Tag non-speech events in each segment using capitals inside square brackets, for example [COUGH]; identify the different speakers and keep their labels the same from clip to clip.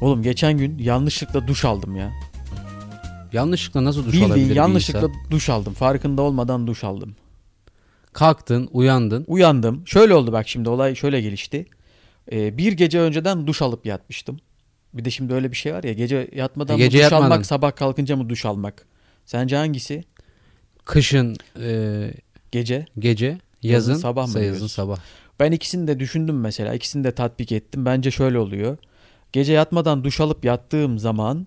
Speaker 1: Oğlum geçen gün yanlışlıkla duş aldım ya.
Speaker 2: Yanlışlıkla nasıl duş alabilir
Speaker 1: Bildiğin
Speaker 2: bir
Speaker 1: yanlışlıkla
Speaker 2: insan?
Speaker 1: duş aldım. Farkında olmadan duş aldım.
Speaker 2: Kalktın, uyandın.
Speaker 1: Uyandım. Şöyle oldu bak şimdi olay şöyle gelişti. Ee, bir gece önceden duş alıp yatmıştım. Bir de şimdi öyle bir şey var ya gece yatmadan
Speaker 2: E,
Speaker 1: mı
Speaker 2: gece
Speaker 1: duş
Speaker 2: yatmadan.
Speaker 1: almak sabah kalkınca mı duş almak? Sence hangisi?
Speaker 2: Kışın e,
Speaker 1: Gece.
Speaker 2: gece,
Speaker 1: Yazın
Speaker 2: yazın,
Speaker 1: sabah mı
Speaker 2: sa- yazın
Speaker 1: diyoruz?
Speaker 2: sabah.
Speaker 1: Ben ikisini de düşündüm mesela. İkisini de tatbik ettim. Bence şöyle oluyor. Gece yatmadan duş alıp yattığım zaman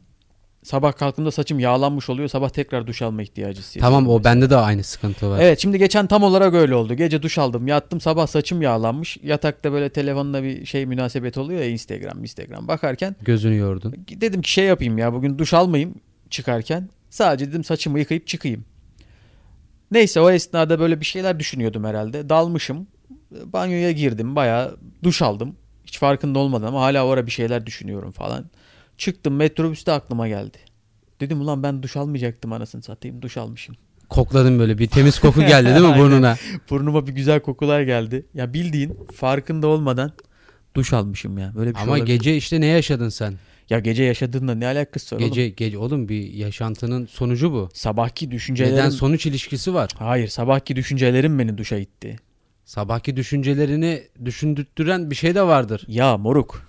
Speaker 1: sabah kalktığımda saçım yağlanmış oluyor. Sabah tekrar duş alma ihtiyacı hissediyorum.
Speaker 2: Tamam o
Speaker 1: mesela.
Speaker 2: bende de aynı sıkıntı var.
Speaker 1: Evet şimdi geçen tam olarak öyle oldu. Gece duş aldım yattım sabah saçım yağlanmış. Yatakta böyle telefonla bir şey münasebet oluyor ya Instagram Instagram bakarken.
Speaker 2: Gözünü yordun.
Speaker 1: Dedim ki şey yapayım ya bugün duş almayayım çıkarken. Sadece dedim saçımı yıkayıp çıkayım. Neyse o esnada böyle bir şeyler düşünüyordum herhalde. Dalmışım. Banyoya girdim bayağı duş aldım. Hiç farkında olmadan ama hala o ara bir şeyler düşünüyorum falan. Çıktım metrobüste aklıma geldi. Dedim ulan ben duş almayacaktım anasını satayım duş almışım.
Speaker 2: Kokladın böyle bir
Speaker 1: [LAUGHS]
Speaker 2: temiz koku geldi değil mi
Speaker 1: Aynen.
Speaker 2: burnuna?
Speaker 1: Burnuma bir güzel kokular geldi. Ya bildiğin farkında olmadan duş almışım ya. Böyle bir şey
Speaker 2: Ama
Speaker 1: olabilir.
Speaker 2: gece işte ne yaşadın sen?
Speaker 1: Ya gece yaşadığında ne alakası var oğlum?
Speaker 2: Gece gece oğlum bir yaşantının sonucu bu.
Speaker 1: Sabahki düşüncelerim...
Speaker 2: Neden sonuç ilişkisi var?
Speaker 1: Hayır sabahki düşüncelerim beni duşa itti.
Speaker 2: Sabahki düşüncelerini düşündürttüren bir şey de vardır.
Speaker 1: Ya moruk.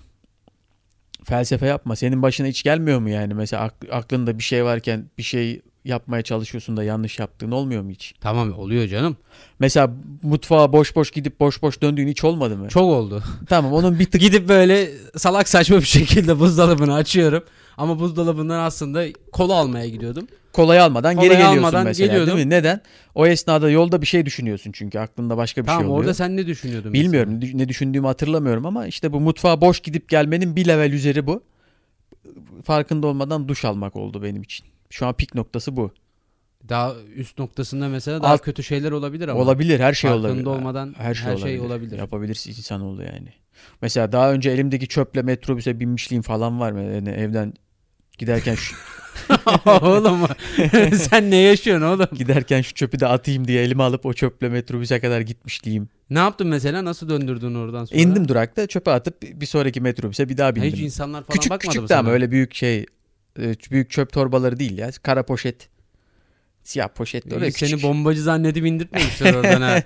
Speaker 1: Felsefe yapma. Senin başına hiç gelmiyor mu yani? Mesela ak- aklında bir şey varken bir şey yapmaya çalışıyorsun da yanlış yaptığın olmuyor mu hiç?
Speaker 2: Tamam oluyor canım.
Speaker 1: Mesela mutfağa boş boş gidip boş boş döndüğün hiç olmadı mı?
Speaker 2: Çok oldu.
Speaker 1: Tamam onun bir tık
Speaker 2: Gidip böyle salak saçma bir şekilde buzdolabını açıyorum. Ama buzdolabından aslında kola almaya gidiyordum.
Speaker 1: kolayı almadan
Speaker 2: Kolayı
Speaker 1: geri geliyorsun
Speaker 2: almadan
Speaker 1: mesela
Speaker 2: geliyordum.
Speaker 1: değil mi? Neden? O esnada yolda bir şey düşünüyorsun çünkü aklında başka bir
Speaker 2: tamam
Speaker 1: şey oluyor.
Speaker 2: orada sen ne düşünüyordun?
Speaker 1: Bilmiyorum dü- ne düşündüğümü hatırlamıyorum ama işte bu mutfağa boş gidip gelmenin bir level üzeri bu. Farkında olmadan duş almak oldu benim için. Şu an pik noktası bu.
Speaker 2: mesela? Daha üst noktasında mesela daha
Speaker 1: Alt-
Speaker 2: kötü şeyler olabilir ama.
Speaker 1: olabilir her şey
Speaker 2: Farkında
Speaker 1: olabilir.
Speaker 2: olmadan
Speaker 1: her şey, olabilir.
Speaker 2: olabilir.
Speaker 1: Yapabilirsin insan oldu yani. Mesela daha önce elimdeki çöple metrobüse binmişliğim falan var mı? Yani evden giderken
Speaker 2: [LAUGHS]
Speaker 1: şu,
Speaker 2: oğlum [LAUGHS] sen ne yaşıyorsun oğlum?
Speaker 1: giderken şu çöpü de atayım diye elime alıp o çöple metrobüse kadar gitmişliğim.
Speaker 2: Ne yaptın mesela? Nasıl döndürdün oradan sonra?
Speaker 1: İndim durakta çöpe atıp bir sonraki metrobüse bir daha
Speaker 2: Ha,
Speaker 1: bindim.
Speaker 2: Hiç insanlar falan
Speaker 1: küçük
Speaker 2: bakmadı mı
Speaker 1: küçük de ama
Speaker 2: sana?
Speaker 1: öyle büyük şey e, büyük çöp torbaları değil ya. Kara poşet. Siyah poşet de öyle
Speaker 2: İyi,
Speaker 1: küçük.
Speaker 2: Seni bombacı zannedip indirtmemişler
Speaker 1: [LAUGHS]
Speaker 2: oradan ha.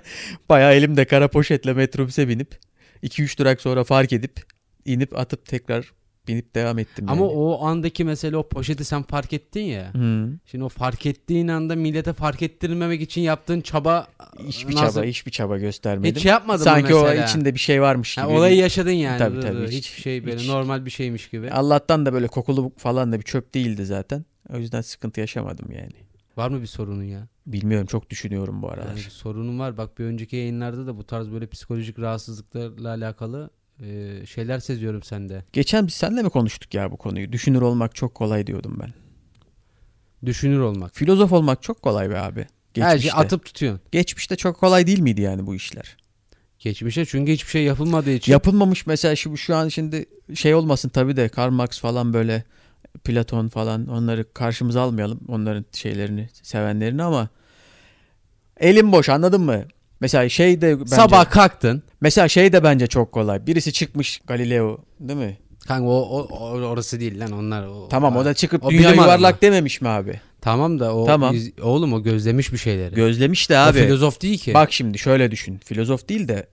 Speaker 1: Bayağı elimde kara poşetle metrobüse binip 2-3 durak sonra fark edip inip atıp tekrar binip devam ettim.
Speaker 2: Ama
Speaker 1: yani. Hmm.
Speaker 2: o andaki mesela o poşeti sen fark ettin ya.
Speaker 1: Hı.
Speaker 2: Şimdi o fark ettiğin anda millete fark ettirmemek için yaptığın çaba
Speaker 1: Hiçbir
Speaker 2: nasıl-
Speaker 1: çaba, hiçbir çaba göstermedim.
Speaker 2: hiç yapmadın
Speaker 1: Sanki
Speaker 2: mı
Speaker 1: o
Speaker 2: mesela?
Speaker 1: içinde bir şey varmış gibi.
Speaker 2: Ha, olayı yaşadın yani.
Speaker 1: Tabii,
Speaker 2: Dur,
Speaker 1: tabii,
Speaker 2: dur.
Speaker 1: hiç-
Speaker 2: Hiçbir şey böyle
Speaker 1: hiç-
Speaker 2: normal bir şeymiş gibi.
Speaker 1: Allah'tan da böyle kokulu falan da bir çöp değildi zaten. O yüzden sıkıntı yaşamadım yani.
Speaker 2: Var mı bir sorunun ya?
Speaker 1: Bilmiyorum çok düşünüyorum bu
Speaker 2: Yani
Speaker 1: aralar.
Speaker 2: bir sorunun var. Bak bir önceki yayınlarda da bu tarz böyle psikolojik rahatsızlıklarla alakalı e, şeyler seziyorum sende.
Speaker 1: Geçen biz seninle mi konuştuk ya bu konuyu? Düşünür olmak çok kolay diyordum ben.
Speaker 2: Düşünür olmak.
Speaker 1: Filozof olmak çok kolay be abi. Geçmişte.
Speaker 2: Her şeyi atıp tutuyorsun.
Speaker 1: Geçmişte çok kolay değil miydi yani bu işler?
Speaker 2: Geçmişe çünkü hiçbir şey yapılmadığı için.
Speaker 1: Yapılmamış mesela şu, şu an şimdi şey olmasın tabii de Karl Marx falan böyle Platon falan onları karşımıza almayalım. Onların şeylerini, sevenlerini ama elim boş anladın mı? Mesela şey de bence,
Speaker 2: Sabah kalktın.
Speaker 1: mesela şey de bence çok kolay. Birisi çıkmış Galileo değil mi?
Speaker 2: Kanka o, o- o- orası değil lan onlar. O,
Speaker 1: Tamam o da çıkıp
Speaker 2: O
Speaker 1: dünya
Speaker 2: bilim adamı.
Speaker 1: yuvarlak dememiş mi abi?
Speaker 2: Tamam da o
Speaker 1: Tamam.
Speaker 2: iz- oğlum o gözlemiş bir şeyleri.
Speaker 1: Gözlemiş de
Speaker 2: O
Speaker 1: abi.
Speaker 2: filozof değil ki.
Speaker 1: Bak şimdi şöyle düşün. Filozof değil de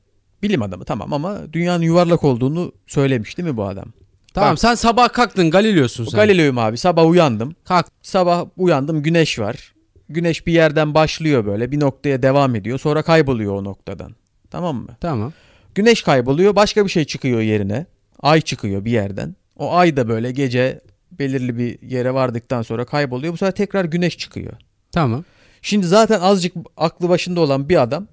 Speaker 1: bilim adamı tamam ama dünyanın yuvarlak olduğunu söylemiş değil mi bu adam?
Speaker 2: tamam
Speaker 1: bak.
Speaker 2: sen sabah kalktın Galileo'sun
Speaker 1: Bu
Speaker 2: sen.
Speaker 1: Galileo'yum abi. Sabah uyandım.
Speaker 2: Kalk.
Speaker 1: Sabah uyandım güneş var. Güneş bir yerden başlıyor böyle bir noktaya devam ediyor. Sonra kayboluyor o noktadan. Tamam mı?
Speaker 2: Tamam.
Speaker 1: Güneş kayboluyor başka bir şey çıkıyor yerine. Ay çıkıyor bir yerden. O ay da böyle gece belirli bir yere vardıktan sonra kayboluyor. Bu sefer tekrar güneş çıkıyor.
Speaker 2: Tamam.
Speaker 1: Şimdi zaten azıcık aklı başında olan bir adam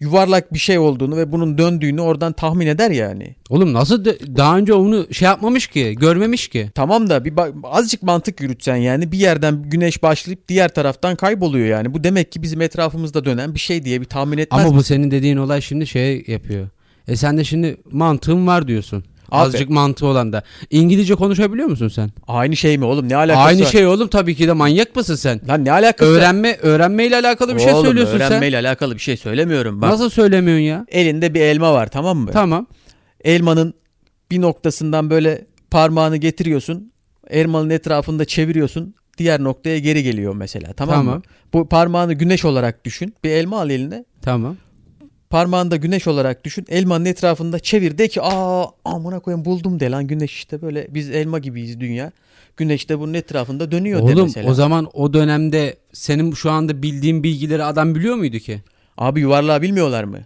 Speaker 1: yuvarlak bir şey olduğunu ve bunun döndüğünü oradan tahmin eder hani. yani.
Speaker 2: Oğlum nasıl de- daha önce onu şey yapmamış ki, görmemiş ki.
Speaker 1: Tamam da bir bak- azıcık mantık yürütsen yani bir yerden güneş başlayıp diğer taraftan kayboluyor yani. Bu demek ki bizim etrafımızda dönen bir şey diye bir tahmin etmez.
Speaker 2: Ama bu senin dediğin olay şimdi şey yapıyor. E sen de şimdi mantığın var diyorsun.
Speaker 1: Abi.
Speaker 2: Azıcık mantığı olan da. İngilizce konuşabiliyor musun sen?
Speaker 1: Aynı şey mi oğlum ne alakası
Speaker 2: Aynı
Speaker 1: var?
Speaker 2: şey oğlum tabii ki de manyak mısın sen?
Speaker 1: Lan ne alakası var?
Speaker 2: Öğrenme öğrenmeyle alakalı bir şey
Speaker 1: Oğlum,
Speaker 2: söylüyorsun
Speaker 1: öğrenmeyle alakalı bir şey söylemiyorum.
Speaker 2: sen.
Speaker 1: Bak,
Speaker 2: Nasıl söylemiyorsun ya?
Speaker 1: Elinde bir elma var tamam mı?
Speaker 2: Tamam.
Speaker 1: Elmanın bir noktasından böyle parmağını getiriyorsun. Elmanın etrafında çeviriyorsun. Diğer noktaya geri geliyor mesela. Tamam, mı?
Speaker 2: Tamam.
Speaker 1: Bu parmağını güneş olarak düşün. Bir elma al eline.
Speaker 2: Tamam.
Speaker 1: Parmağında güneş olarak düşün. Elmanın etrafında çevir de ki aa amına koyayım buldum de lan güneş işte böyle biz elma gibiyiz dünya. Güneş de bunun etrafında dönüyor de
Speaker 2: Oğlum
Speaker 1: mesela.
Speaker 2: o zaman o dönemde senin şu anda bildiğin bilgileri adam biliyor muydu ki?
Speaker 1: Abi yuvarlağı bilmiyorlar mı?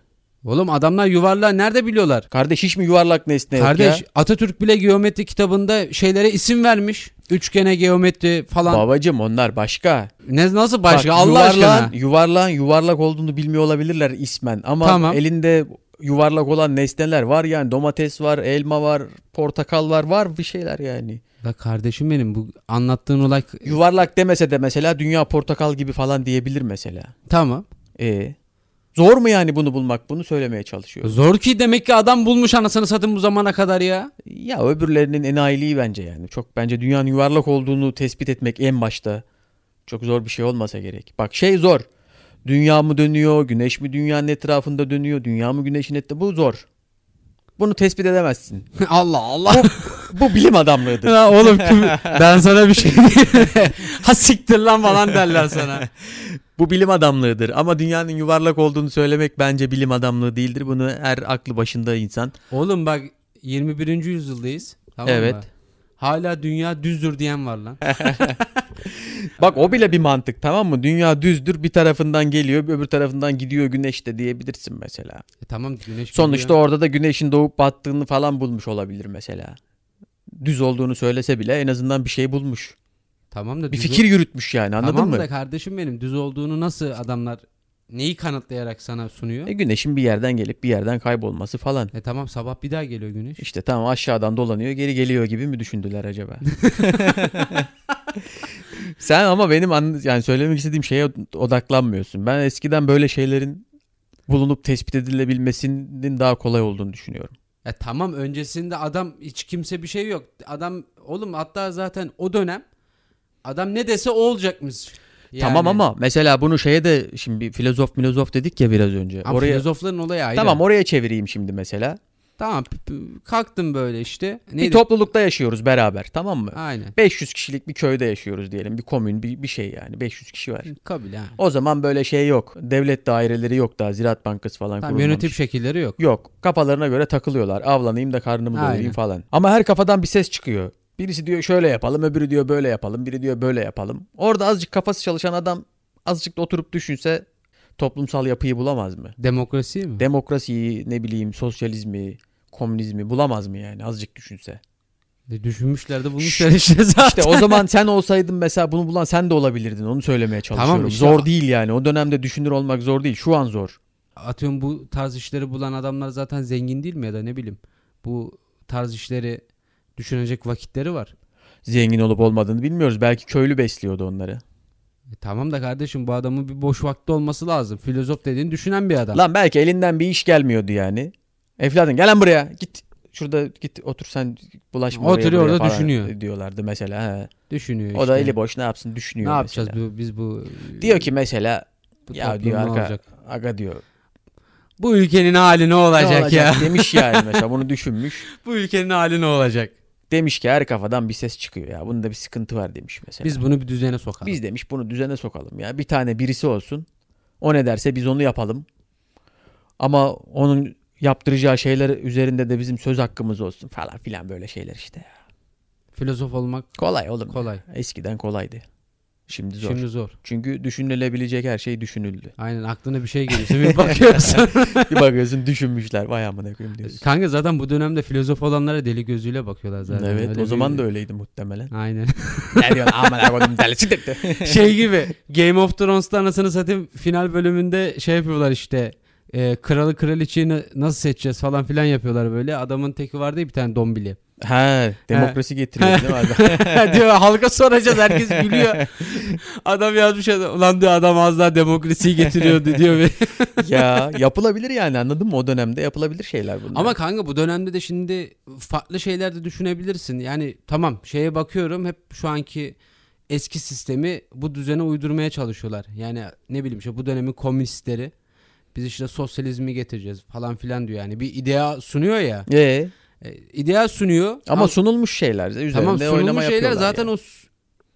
Speaker 2: Oğlum adamlar yuvarlağı nerede biliyorlar?
Speaker 1: Kardeş hiç mi yuvarlak nesne yok
Speaker 2: Kardeş
Speaker 1: ya?
Speaker 2: Atatürk bile geometri kitabında şeylere isim vermiş. Üçgene geometri falan.
Speaker 1: Babacım onlar başka.
Speaker 2: Ne nasıl başka
Speaker 1: Bak,
Speaker 2: Allah
Speaker 1: yuvarlağın,
Speaker 2: aşkına.
Speaker 1: Yuvarlağın yuvarlak olduğunu bilmiyor olabilirler ismen. Ama
Speaker 2: Tamam.
Speaker 1: elinde yuvarlak olan nesneler var yani. Domates var, elma var, portakal var. Var bir şeyler yani.
Speaker 2: La kardeşim benim bu anlattığın olay
Speaker 1: Yuvarlak demese de mesela dünya portakal gibi falan diyebilir mesela.
Speaker 2: tamam.
Speaker 1: E Zor mu yani bunu bulmak? Bunu söylemeye çalışıyor.
Speaker 2: Zor ki demek ki adam bulmuş anasını satın bu zamana kadar ya. [LAUGHS]
Speaker 1: Ya öbürlerinin enayiliği bence yani. Çok bence dünyanın yuvarlak olduğunu tespit etmek en başta çok zor bir şey olmasa gerek. Bak şey zor. Dünya mı dönüyor, güneş mi dünyanın etrafında dönüyor, dünya mı güneşin etrafında bu zor. Bunu tespit edemezsin.
Speaker 2: Allah Allah.
Speaker 1: Bu bilim adamlığıdır.
Speaker 2: [LAUGHS] Ya oğlum kim- ben sana bir şey diyeyim. [LAUGHS] ha siktir lan falan [LAUGHS] derler sana.
Speaker 1: Bu bilim adamlığıdır ama dünyanın yuvarlak olduğunu söylemek bence bilim adamlığı değildir. Bunu her aklı başında insan.
Speaker 2: Oğlum bak 21. yüzyıldayız. Tamam
Speaker 1: Evet.
Speaker 2: Mı? Hala dünya düzdür diyen var lan.
Speaker 1: Bak o bile bir mantık tamam mı? Dünya düzdür bir tarafından geliyor öbür tarafından gidiyor güneş de diyebilirsin mesela.
Speaker 2: E tamam güneş
Speaker 1: Sonuçta
Speaker 2: gidiyor.
Speaker 1: orada da güneşin doğup battığını falan bulmuş olabilir mesela. Düz olduğunu söylese bile en azından bir şey bulmuş.
Speaker 2: tamam da
Speaker 1: Bir
Speaker 2: düz-
Speaker 1: fikir yürütmüş yani anladın
Speaker 2: tamam
Speaker 1: mı?
Speaker 2: da kardeşim benim düz olduğunu nasıl adamlar neyi kanıtlayarak sana sunuyor?
Speaker 1: E,
Speaker 2: E,
Speaker 1: güneşin bir yerden gelip bir yerden kaybolması falan.
Speaker 2: tamam sabah bir daha geliyor güneş.
Speaker 1: İşte tamam aşağıdan dolanıyor geri geliyor gibi mi düşündüler
Speaker 2: [LAUGHS]
Speaker 1: acaba? Sen ama benim an- yani söylemek istediğim şeye odaklanmıyorsun. Ben eskiden böyle şeylerin bulunup tespit edilebilmesinin daha kolay olduğunu düşünüyorum.
Speaker 2: E tamam öncesinde adam hiç kimse bir şey yok. Adam oğlum hatta zaten o dönem adam ne dese o olacakmış. Yani.
Speaker 1: Tamam ama mesela bunu şeye de şimdi bir filozof filozof dedik ya biraz önce.
Speaker 2: Ama
Speaker 1: Oraya
Speaker 2: filozofların olayı ayrı.
Speaker 1: Tamam oraya çevireyim şimdi mesela.
Speaker 2: Tamam p- p- kalktım böyle işte. Neydi?
Speaker 1: Bir toplulukta yaşıyoruz beraber tamam mı?
Speaker 2: Aynen.
Speaker 1: 500 kişilik bir köyde yaşıyoruz diyelim. Bir komün bir, bir şey yani 500 kişi var.
Speaker 2: Kabul ha.
Speaker 1: O zaman böyle şey yok. Devlet daireleri yok daha Ziraat Bankası falan
Speaker 2: Tamam
Speaker 1: kurulmamış.
Speaker 2: yönetim şekilleri yok.
Speaker 1: Yok. Kafalarına göre takılıyorlar. Avlanayım da karnımı
Speaker 2: Aynen.
Speaker 1: doyurayım falan. Ama her kafadan bir ses çıkıyor. Birisi diyor şöyle yapalım, öbürü diyor böyle yapalım, biri diyor böyle yapalım. Orada azıcık kafası çalışan adam azıcık da oturup düşünse toplumsal yapıyı bulamaz mı?
Speaker 2: Demokrasi mi?
Speaker 1: demokrasiyi ne bileyim sosyalizmi komünizmi bulamaz mı yani azıcık düşünse.
Speaker 2: E, Düşünmüşler de bulmuşlar işte zaten.
Speaker 1: İşte o
Speaker 2: [LAUGHS]
Speaker 1: zaman sen olsaydın mesela bunu bulan sen de olabilirdin onu söylemeye çalışıyorum.
Speaker 2: işte-
Speaker 1: Zor değil yani o dönemde düşünür olmak zor değil şu an zor.
Speaker 2: Atıyorum bu tarz işleri bulan adamlar zaten zengin değil mi ya da ne bileyim. Bu tarz işleri düşünecek vakitleri var.
Speaker 1: Zengin olup olmadığını bilmiyoruz belki köylü besliyordu onları.
Speaker 2: E, tamam da kardeşim bu adamın bir boş vakti olması lazım. Filozof dediğin düşünen bir adam.
Speaker 1: Lan belki elinden bir iş gelmiyordu yani. Eflatun gel lan buraya git şurada git otur sen bulaşma oraya,
Speaker 2: Oturuyor
Speaker 1: buraya
Speaker 2: orada
Speaker 1: falan
Speaker 2: düşünüyor.
Speaker 1: diyorlardı mesela. He.
Speaker 2: Düşünüyor işte.
Speaker 1: O da eli boş ne yapsın
Speaker 2: Ne
Speaker 1: düşünüyor
Speaker 2: yapacağız
Speaker 1: mesela.
Speaker 2: bu, biz bu
Speaker 1: Diyor ki mesela
Speaker 2: bu
Speaker 1: ya
Speaker 2: toplum
Speaker 1: diyor
Speaker 2: ne
Speaker 1: arka-
Speaker 2: olacak?
Speaker 1: aga diyor
Speaker 2: Bu ülkenin hali ne
Speaker 1: Ne
Speaker 2: olacak, ya?
Speaker 1: demiş yani mesela bunu düşünmüş.
Speaker 2: [LAUGHS] bu ülkenin hali ne olacak?
Speaker 1: Demiş ki her kafadan bir ses çıkıyor ya bunda bir sıkıntı var demiş mesela. Biz,
Speaker 2: Biz bunu bir düzene sokalım.
Speaker 1: demiş bunu düzene sokalım ya bir tane birisi olsun o ne derse biz onu yapalım. Ama onun yaptıracağı şeyler üzerinde de bizim söz hakkımız olsun falan filan böyle şeyler işte. ya.
Speaker 2: Filozof olmak
Speaker 1: Kolay oğlum.
Speaker 2: kolay.
Speaker 1: Eskiden kolaydı. Şimdi zor.
Speaker 2: Şimdi zor.
Speaker 1: Çünkü düşünülebilecek her şey düşünüldü. [LAUGHS]
Speaker 2: Aynen aklına bir şey geliyorsa bir bakıyorsun.
Speaker 1: bir bakıyorsun düşünmüşler vay amına koyayım diyorsun.
Speaker 2: Kanka zaten bu dönemde filozof olanlara deli gözüyle bakıyorlar zaten.
Speaker 1: evet
Speaker 2: Öyle
Speaker 1: o zaman
Speaker 2: bir-
Speaker 1: da öyleydi muhtemelen.
Speaker 2: Aynen.
Speaker 1: ne diyorsun amına koydum delisi
Speaker 2: [LAUGHS]
Speaker 1: dedi.
Speaker 2: şey gibi Game of Thrones'ta anasını satayım final bölümünde şey yapıyorlar işte. e, kralı kraliçeyi na- nasıl seçeceğiz falan filan yapıyorlar böyle. Adamın teki vardı ya bir tane dombili. [LAUGHS]
Speaker 1: He, demokrasi getiriyor değil mi adam?
Speaker 2: diyor halka soracağız herkes gülüyor. Adam yazmış adam, ulan diyor adam az daha demokrasiyi getiriyordu diyor.
Speaker 1: ya yapılabilir yani anladın mı? O dönemde yapılabilir şeyler bunlar.
Speaker 2: Ama kanka bu dönemde de şimdi farklı şeyler de düşünebilirsin. Yani tamam şeye bakıyorum hep şu anki eski sistemi bu düzene uydurmaya çalışıyorlar. Yani ne bileyim işte bu dönemin komünistleri biz işte sosyalizmi getireceğiz falan filan diyor yani. Bir idea sunuyor ya.
Speaker 1: Ee,
Speaker 2: E, ideal sunuyor.
Speaker 1: Ama sunulmuş şeyler. Üzerinde
Speaker 2: tamam
Speaker 1: oynama
Speaker 2: sunulmuş şeyler
Speaker 1: yapıyorlar
Speaker 2: zaten
Speaker 1: yani.
Speaker 2: o s-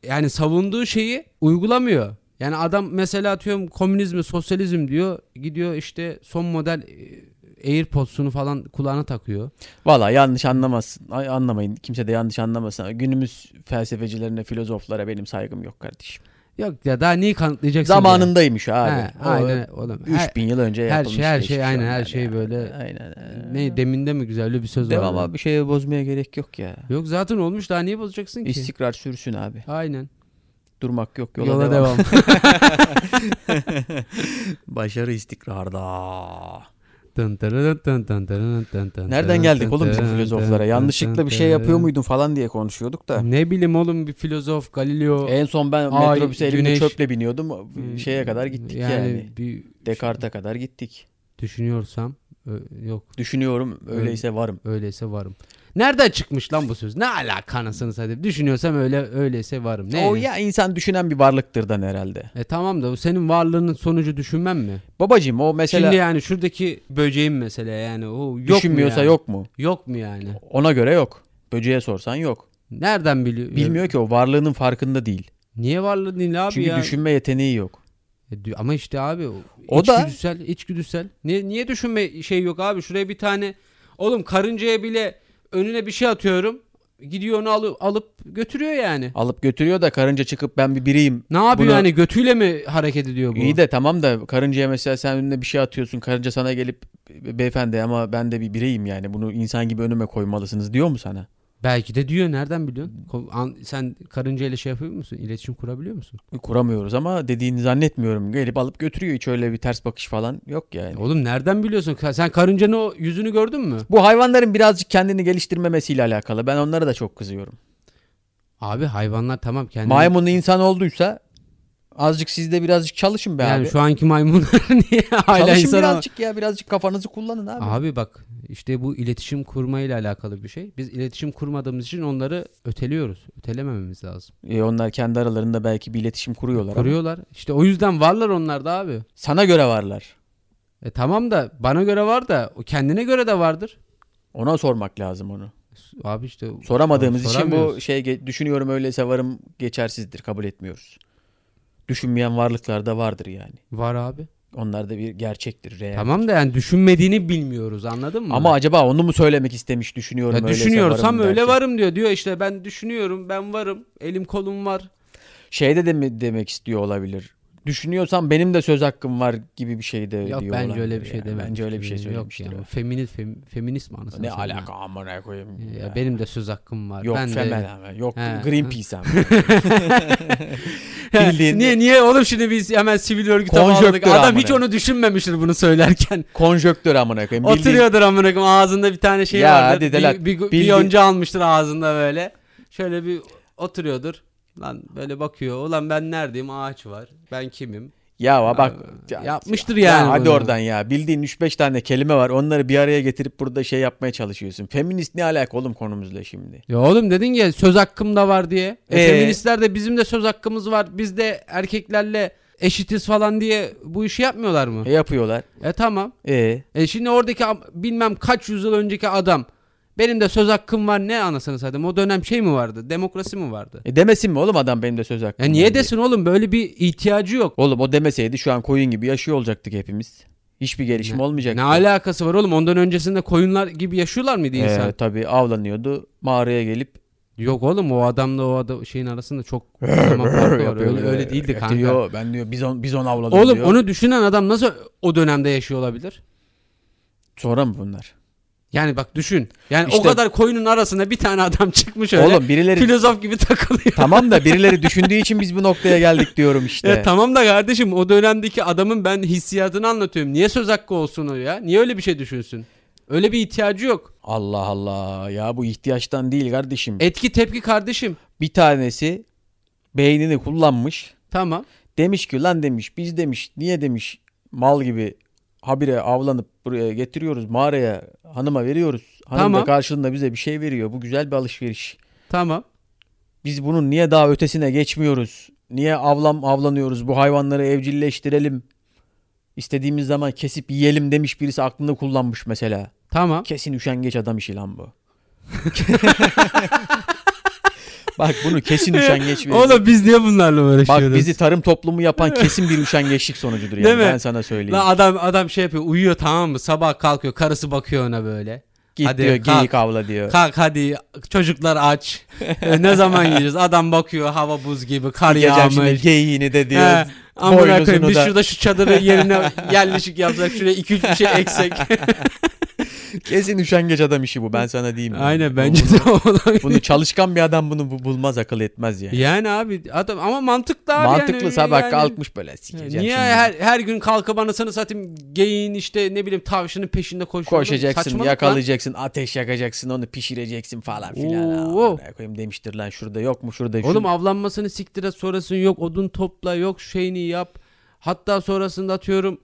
Speaker 2: yani savunduğu şeyi uygulamıyor. Yani adam mesela atıyorum komünizmi, sosyalizm diyor. Gidiyor işte son model e, AirPods'unu falan kulağına takıyor.
Speaker 1: Valla yanlış anlamazsın. Ay, anlamayın. Kimse de yanlış anlamasın. Günümüz felsefecilerine, filozoflara benim saygım yok kardeşim.
Speaker 2: Yok ya daha neyi kanıtlayacaksın? ki?
Speaker 1: Zamanındaymış abi.
Speaker 2: He,
Speaker 1: O
Speaker 2: aynen oğlum. Her-
Speaker 1: 3000 yıl önce
Speaker 2: her
Speaker 1: yapılmış.
Speaker 2: şey- her
Speaker 1: geçmiş
Speaker 2: şey aynen,
Speaker 1: onlar
Speaker 2: her şey
Speaker 1: yani.
Speaker 2: böyle-
Speaker 1: Aynen. aynen.
Speaker 2: ne deminde mi güzel bir söz
Speaker 1: Devam
Speaker 2: var.
Speaker 1: abi bir şeye bozmaya gerek yok ya.
Speaker 2: Yok zaten olmuş daha niye bozacaksın ki?
Speaker 1: İstikrar sürsün abi.
Speaker 2: Aynen.
Speaker 1: Durmak yok yola,
Speaker 2: Yola,
Speaker 1: devam.
Speaker 2: devam.
Speaker 1: [LAUGHS] Başarı istikrarda.
Speaker 2: Dın dırırın dın dın dırırın dın dın
Speaker 1: Nereden
Speaker 2: dırırın
Speaker 1: geldik
Speaker 2: dın
Speaker 1: oğlum biz bu
Speaker 2: dırırın
Speaker 1: filozoflara?
Speaker 2: dın
Speaker 1: Yanlışlıkla
Speaker 2: dın
Speaker 1: bir şey yapıyor
Speaker 2: dın.
Speaker 1: muydun falan diye konuşuyorduk da.
Speaker 2: Ne bileyim oğlum bir filozof Galileo
Speaker 1: En son ben
Speaker 2: Ay,
Speaker 1: metrobüse elimde
Speaker 2: güneş. Hmm,
Speaker 1: çöple biniyordum. Şeye kadar gittik yani.
Speaker 2: bir
Speaker 1: Descartes'e kadar gittik.
Speaker 2: düşünüyorsam ö- yok
Speaker 1: Düşünüyorum
Speaker 2: Hmm.
Speaker 1: öyleyse varım.
Speaker 2: öyleyse varım. Nereden çıkmış lan bu söz? Ne alaka anasını satayım? Düşünüyorsam öyle öyleyse varım. Ne?
Speaker 1: O ya insan düşünen bir varlıktırdan herhalde.
Speaker 2: E tamam da bu senin varlığının sonucu düşünmem mi?
Speaker 1: Babacım o mesela
Speaker 2: Şimdi yani şuradaki böceğin mesela yani o yok
Speaker 1: düşünmüyorsa
Speaker 2: mu yani?
Speaker 1: yok mu?
Speaker 2: Yok mu yani?
Speaker 1: Ona göre yok. Böceğe sorsan yok.
Speaker 2: Nereden biliyor?
Speaker 1: Bilmiyor ki o varlığının farkında değil.
Speaker 2: Niye varlığı değil abi
Speaker 1: Çünkü
Speaker 2: ya?
Speaker 1: düşünme yeteneği yok.
Speaker 2: E, dü- Ama işte abi o,
Speaker 1: O da-
Speaker 2: içgüdüsel, içgüdüsel. Niye, niye düşünme şey yok abi? Şuraya bir tane oğlum karıncaya bile önüne bir şey atıyorum. Gidiyor onu alıp, alıp götürüyor yani.
Speaker 1: Alıp götürüyor da karınca çıkıp ben bir biriyim.
Speaker 2: Ne yapıyor
Speaker 1: Bunu-
Speaker 2: yani götüyle mi hareket ediyor bu?
Speaker 1: İyi de tamam da karıncaya mesela sen önüne bir şey atıyorsun. Karınca sana gelip "Be- beyefendi ama ben de bir bireyim yani. Bunu insan gibi önüme koymalısınız diyor mu sana?
Speaker 2: Belki de diyor nereden biliyorsun? Ko- an- sen karıncayla şey yapıyor musun? İletişim kurabiliyor musun?
Speaker 1: Kuramıyoruz ama dediğini zannetmiyorum. Gelip alıp götürüyor hiç öyle bir ters bakış falan yok yani.
Speaker 2: E, Oğlum nereden biliyorsun? Ka- Sen karıncanın o yüzünü gördün mü?
Speaker 1: Bu hayvanların birazcık kendini geliştirmemesiyle alakalı. Ben onlara da çok kızıyorum.
Speaker 2: Abi hayvanlar tamam kendini...
Speaker 1: Maymun insan olduysa azıcık sizde birazcık çalışın be
Speaker 2: yani
Speaker 1: abi.
Speaker 2: şu anki maymunlar [LAUGHS] niye hala
Speaker 1: çalışın
Speaker 2: insan...
Speaker 1: birazcık ya birazcık kafanızı kullanın abi.
Speaker 2: Abi bak işte bu iletişim kurmayla alakalı bir şey. Biz iletişim kurmadığımız için onları öteliyoruz. Ötelemememiz lazım.
Speaker 1: E, onlar kendi aralarında belki bir iletişim kuruyorlar. ama
Speaker 2: Kuruyorlar. İşte o yüzden varlar onlar da abi.
Speaker 1: Sana göre varlar.
Speaker 2: E tamam da bana göre var da o kendine göre de vardır.
Speaker 1: Ona sormak lazım onu.
Speaker 2: Abi işte
Speaker 1: Soramadığımız için bu
Speaker 2: soramıyoruz.
Speaker 1: şey ge- düşünüyorum öyleyse varım geçersizdir kabul etmiyoruz. Düşünmeyen varlıklar da vardır yani.
Speaker 2: var abi.
Speaker 1: Onlar da bir gerçektir real.
Speaker 2: Tamam da yani düşünmediğini bilmiyoruz anladın mı?
Speaker 1: Ama acaba onu mu söylemek istemiş düşünüyorum
Speaker 2: ya
Speaker 1: öyleyse
Speaker 2: düşünyorsam
Speaker 1: varım
Speaker 2: öyle
Speaker 1: derken.
Speaker 2: varım diyor. Diyor işte ben düşünüyorum, ben varım. Elim kolum var.
Speaker 1: Şey de deme- demek istiyor olabilir. Düşünüyorsam benim de söz hakkım var gibi bir şey de
Speaker 2: Yok
Speaker 1: diyor
Speaker 2: bence
Speaker 1: olabilir
Speaker 2: öyle bir şey
Speaker 1: yani.
Speaker 2: dememiş.
Speaker 1: Bence öyle bir şey
Speaker 2: Yok
Speaker 1: söylemiştir.
Speaker 2: yani.
Speaker 1: o.
Speaker 2: Feminist, fem- feminist mi anasını
Speaker 1: Ne
Speaker 2: satayım ya?
Speaker 1: alaka amına koyayım.
Speaker 2: Ya,
Speaker 1: Ya.
Speaker 2: benim de söz hakkım var.
Speaker 1: Yok
Speaker 2: ben
Speaker 1: Femen [LAUGHS]
Speaker 2: [LAUGHS] de...
Speaker 1: abi. Yok
Speaker 2: He.
Speaker 1: Greenpeace abi.
Speaker 2: He,
Speaker 1: Bildiğin-
Speaker 2: niye niye oğlum şimdi biz hemen sivil örgüte bağladık.
Speaker 1: Konjöktür
Speaker 2: Adam
Speaker 1: amına.
Speaker 2: hiç onu düşünmemiştir bunu söylerken.
Speaker 1: Konjöktör amına
Speaker 2: [LAUGHS]
Speaker 1: koyayım. Bildiğin-
Speaker 2: Oturuyordur amına koyayım ağzında bir tane şey
Speaker 1: Ya
Speaker 2: vardır.
Speaker 1: hadi
Speaker 2: Bir-
Speaker 1: Delat,
Speaker 2: bir, bir,
Speaker 1: bildiğin-
Speaker 2: yonca almıştır ağzında böyle. Şöyle bir oturuyordur. Lan böyle bakıyor. Ulan ben neredeyim? Ağaç var. Ben kimim?
Speaker 1: Ya bak. ya-
Speaker 2: Yapmıştır
Speaker 1: Ya
Speaker 2: yani.
Speaker 1: hadi
Speaker 2: bunu.
Speaker 1: oradan ya. Bildiğin 3-5 tane kelime var. Onları bir araya getirip burada şey yapmaya çalışıyorsun. Feminist ne alaka oğlum konumuzla şimdi?
Speaker 2: Ya oğlum dedin ya söz hakkım da var diye. E,
Speaker 1: Ee?
Speaker 2: feministler de bizim de söz hakkımız var. Biz de erkeklerle eşitiz falan diye bu işi yapmıyorlar mı?
Speaker 1: E, yapıyorlar.
Speaker 2: e tamam.
Speaker 1: E
Speaker 2: E şimdi oradaki am- bilmem kaç yüzyıl önceki adam benim de söz hakkım var ne anasını satayım o dönem şey mi vardı demokrasi mi vardı?
Speaker 1: E demesin mi oğlum adam benim de söz hakkım
Speaker 2: Ya E, niye
Speaker 1: var diye?
Speaker 2: desin oğlum böyle bir ihtiyacı yok.
Speaker 1: Oğlum o demeseydi şu an koyun gibi yaşıyor olacaktık hepimiz. Hiçbir gelişim olmayacaktı.
Speaker 2: Ne alakası var oğlum ondan öncesinde koyunlar gibi yaşıyorlar mıydı
Speaker 1: Ee,
Speaker 2: insan?
Speaker 1: tabii avlanıyordu. Mağaraya gelip
Speaker 2: Yok oğlum o adamla o adam şeyin arasında çok zaman farkı var. Öyle, öyle değildi
Speaker 1: E,
Speaker 2: kanka.
Speaker 1: Diyor, ben diyor biz on, biz on avladık
Speaker 2: Oğlum
Speaker 1: diyor.
Speaker 2: onu düşünen adam nasıl o dönemde yaşıyor olabilir?
Speaker 1: Sonra mı bunlar?
Speaker 2: Yani bak düşün. Yani o
Speaker 1: İşte-
Speaker 2: kadar koyunun arasında bir tane adam çıkmış öyle.
Speaker 1: Oğlum birileri
Speaker 2: Filozof gibi takılıyor. [LAUGHS]
Speaker 1: tamam da birileri düşündüğü için biz bu noktaya geldik diyorum işte.
Speaker 2: E, tamam da kardeşim o dönemdeki adamın ben hissiyatını anlatıyorum. Niye söz hakkı olsun o ya? Niye öyle bir şey düşünsün? Öyle bir ihtiyacı yok.
Speaker 1: Allah Allah ya bu ihtiyaçtan değil kardeşim. E,
Speaker 2: Etki tepki kardeşim.
Speaker 1: Bir tanesi beynini kullanmış.
Speaker 2: Tamam.
Speaker 1: Demiş ki lan demiş biz demiş niye demiş mal gibi habire avlanıp buraya getiriyoruz mağaraya hanıma veriyoruz. Hanım da
Speaker 2: Tamam.
Speaker 1: karşılığında bize bir şey veriyor. Bu güzel bir alışveriş.
Speaker 2: Tamam.
Speaker 1: Biz bunun niye daha ötesine geçmiyoruz? Niye avlam avlanıyoruz? Bu hayvanları evcilleştirelim. İstediğimiz zaman kesip yiyelim demiş birisi aklında kullanmış mesela.
Speaker 2: Tamam.
Speaker 1: Kesin üşengeç adam işi lan bu. [LAUGHS] Bak bunu kesin üşengeç bir.
Speaker 2: Oğlum biz niye bunlarla
Speaker 1: Bak
Speaker 2: uğraşıyoruz?
Speaker 1: bizi tarım toplumu yapan kesin bir üşengeçlik sonucudur yani.
Speaker 2: Değil mi?
Speaker 1: Ben sana söyleyeyim.
Speaker 2: Lan adam adam şey yapıyor uyuyor tamam mı? Sabah kalkıyor karısı bakıyor ona böyle.
Speaker 1: Git
Speaker 2: hadi
Speaker 1: diyor
Speaker 2: kalk.
Speaker 1: geyik avla diyor.
Speaker 2: Kalk hadi çocuklar
Speaker 1: [LAUGHS]
Speaker 2: aç. E, ne zaman yiyeceğiz? Adam bakıyor hava buz gibi kar
Speaker 1: Yiyeceğim şimdi
Speaker 2: yağmış.
Speaker 1: geyiğini de diyor.
Speaker 2: He, amına koyayım
Speaker 1: boynuzunu
Speaker 2: biz
Speaker 1: da-
Speaker 2: şurada şu çadırı yerine [LAUGHS] yerleşik yapsak şuraya 2 3 bir şey
Speaker 1: [LAUGHS]
Speaker 2: eksek.
Speaker 1: Kesin üşengeç adam işi bu ben sana diyeyim. yani.
Speaker 2: Aynen
Speaker 1: Bu-
Speaker 2: bence
Speaker 1: Bunu,
Speaker 2: de olabilir.
Speaker 1: bunu çalışkan bir adam bunu bu- bulmaz akıl etmez yani.
Speaker 2: Yani abi adam ama mantıklı abi.
Speaker 1: Mantıklı
Speaker 2: yani,
Speaker 1: sabah
Speaker 2: yani-
Speaker 1: kalkmış böyle sikeceğim. şimdi.
Speaker 2: Niye her, şey her gün kalkıp anasını satayım geyin işte ne bileyim tavşanın peşinde koşuyor.
Speaker 1: koşacaksın,
Speaker 2: Saçmalık
Speaker 1: yakalayacaksın, ateş yakacaksın, onu pişireceksin falan filan. Aa,
Speaker 2: Oo.
Speaker 1: amına koyayım demiştir lan şurada yok mu şurada
Speaker 2: lan.
Speaker 1: şu.
Speaker 2: Oğlum avlanmasını siktir et sonrasını yok odun topla yok şeyini yap. Hatta sonrasında atıyorum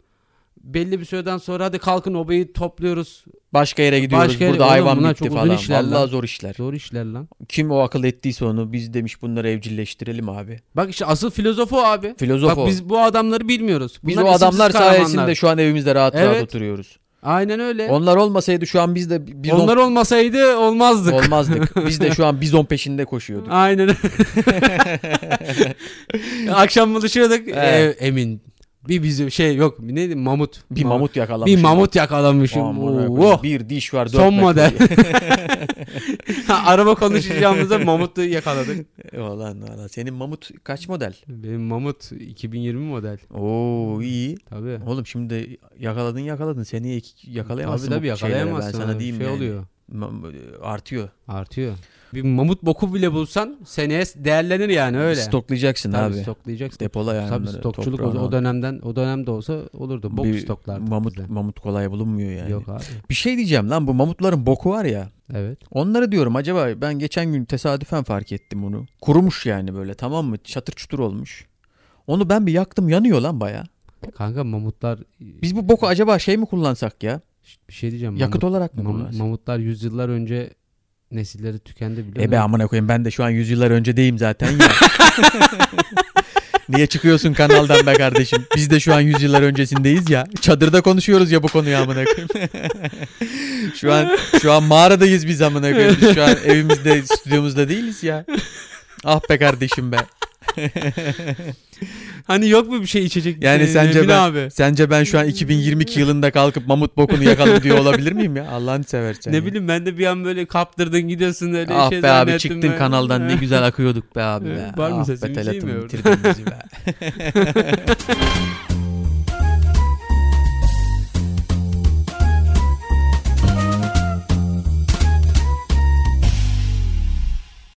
Speaker 2: belli bir süreden sonra hadi kalkın obayı topluyoruz.
Speaker 1: başka yere gidiyoruz.
Speaker 2: Başka yere-
Speaker 1: Burada
Speaker 2: Oğlum
Speaker 1: hayvan
Speaker 2: bunlar
Speaker 1: bitti
Speaker 2: çok uzun
Speaker 1: falan.
Speaker 2: işler lan.
Speaker 1: Vallahi zor işler.
Speaker 2: Zor işler lan.
Speaker 1: Kim o akıl ettiyse onu biz demiş bunları evcilleştirelim abi.
Speaker 2: Bak işte asıl filozof o abi.
Speaker 1: Filozof
Speaker 2: Bak
Speaker 1: o. Biz,
Speaker 2: biz bu adamları bilmiyoruz. Bunlar
Speaker 1: o
Speaker 2: isimsiz
Speaker 1: adamlar
Speaker 2: kahramanlar.
Speaker 1: sayesinde şu an evimizde rahat rahat
Speaker 2: Evet.
Speaker 1: oturuyoruz.
Speaker 2: Aynen öyle.
Speaker 1: Onlar olmasaydı şu an biz de bizon
Speaker 2: Onlar olmasaydı olmazdık.
Speaker 1: olmazdık. biz de şu an bizon peşinde koşuyorduk.
Speaker 2: [LAUGHS] Aynen.
Speaker 1: [LAUGHS]
Speaker 2: Akşam buluşuyorduk.
Speaker 1: Evet.
Speaker 2: Ee, Emin bir bizim şey yok neydi mamut.
Speaker 1: Bir
Speaker 2: Ma-
Speaker 1: mamut yakalamış.
Speaker 2: Bir mamut yakalamışım.
Speaker 1: Amına
Speaker 2: Oo,
Speaker 1: koyayım.
Speaker 2: oh.
Speaker 1: Bir diş var. dört
Speaker 2: Son
Speaker 1: metre.
Speaker 2: model.
Speaker 1: [LAUGHS]
Speaker 2: Ha, [LAUGHS] Araba [LAUGHS] konuşacağımızda mamutu yakaladık.
Speaker 1: Ulan ulan E, senin mamut kaç model?
Speaker 2: Benim mamut 2020 model.
Speaker 1: Oo iyi.
Speaker 2: Tabii.
Speaker 1: Oğlum şimdi yakaladın yakaladın. Seni ek- yakalayamazsın.
Speaker 2: Tabii tabii
Speaker 1: bu şeylere.
Speaker 2: yakalayamazsın.
Speaker 1: Ben sana
Speaker 2: abi,
Speaker 1: diyeyim
Speaker 2: şey
Speaker 1: yani.
Speaker 2: oluyor.
Speaker 1: Ma- Artıyor.
Speaker 2: Artıyor. Bir mamut boku bile bulsan seneye değerlenir yani öyle.
Speaker 1: Stoklayacaksın
Speaker 2: Tabii
Speaker 1: abi.
Speaker 2: stoklayacaksın.
Speaker 1: Depola yani.
Speaker 2: Tabii
Speaker 1: bunları,
Speaker 2: stokçuluk o,
Speaker 1: toprağını
Speaker 2: o
Speaker 1: al.
Speaker 2: dönemden o dönemde olsa olurdu. Bok
Speaker 1: Bir
Speaker 2: stoklardı.
Speaker 1: Mamut,
Speaker 2: bize.
Speaker 1: mamut kolay bulunmuyor yani.
Speaker 2: Yok abi.
Speaker 1: Bir şey diyeceğim lan bu mamutların boku var ya.
Speaker 2: Evet.
Speaker 1: Onları diyorum acaba ben geçen gün tesadüfen fark ettim bunu. Kurumuş yani böyle tamam mı? Çatır çutur olmuş. Onu ben bir yaktım yanıyor lan baya.
Speaker 2: Kanka mamutlar
Speaker 1: Biz bu boku acaba şey mi kullansak ya?
Speaker 2: Şşt, bir şey diyeceğim.
Speaker 1: Yakıt
Speaker 2: Mamut-
Speaker 1: olarak mı
Speaker 2: mam-
Speaker 1: kullansak?
Speaker 2: mamutlar yüzyıllar önce nesilleri tükendi biliyor
Speaker 1: Ebe
Speaker 2: musun?
Speaker 1: amına koyayım ben de şu an yüzyıllar önce değilim zaten
Speaker 2: [LAUGHS]
Speaker 1: ya. Niye çıkıyorsun kanaldan be kardeşim? Biz de şu an yüzyıllar öncesindeyiz ya. Çadırda konuşuyoruz ya bu konuyu amına
Speaker 2: [LAUGHS]
Speaker 1: koyayım. şu an şu an mağaradayız biz amına koyayım. Biz Şu an evimizde, stüdyomuzda değiliz ya. Ah be kardeşim be.
Speaker 2: Hani yok mu bir şey içecek?
Speaker 1: Yani
Speaker 2: Ee,
Speaker 1: sence
Speaker 2: Emin
Speaker 1: ben-
Speaker 2: abi.
Speaker 1: Sence ben şu an 2022 yılında kalkıp mamut bokunu yakalım diyor olabilir miyim ya? Allah'ını seversen.
Speaker 2: Ne
Speaker 1: ya.
Speaker 2: bileyim ben de bir an böyle kaptırdın gidiyorsun öyle
Speaker 1: Ah
Speaker 2: şey
Speaker 1: be abi
Speaker 2: zannettim
Speaker 1: çıktın
Speaker 2: ben. [LAUGHS]
Speaker 1: kanaldan ne güzel akıyorduk be abi be.
Speaker 2: Var mı
Speaker 1: ah
Speaker 2: sesim?
Speaker 1: be
Speaker 2: [LAUGHS] Bir şey mi
Speaker 1: Telat'ım
Speaker 2: yok?
Speaker 1: bitirdin bizi be.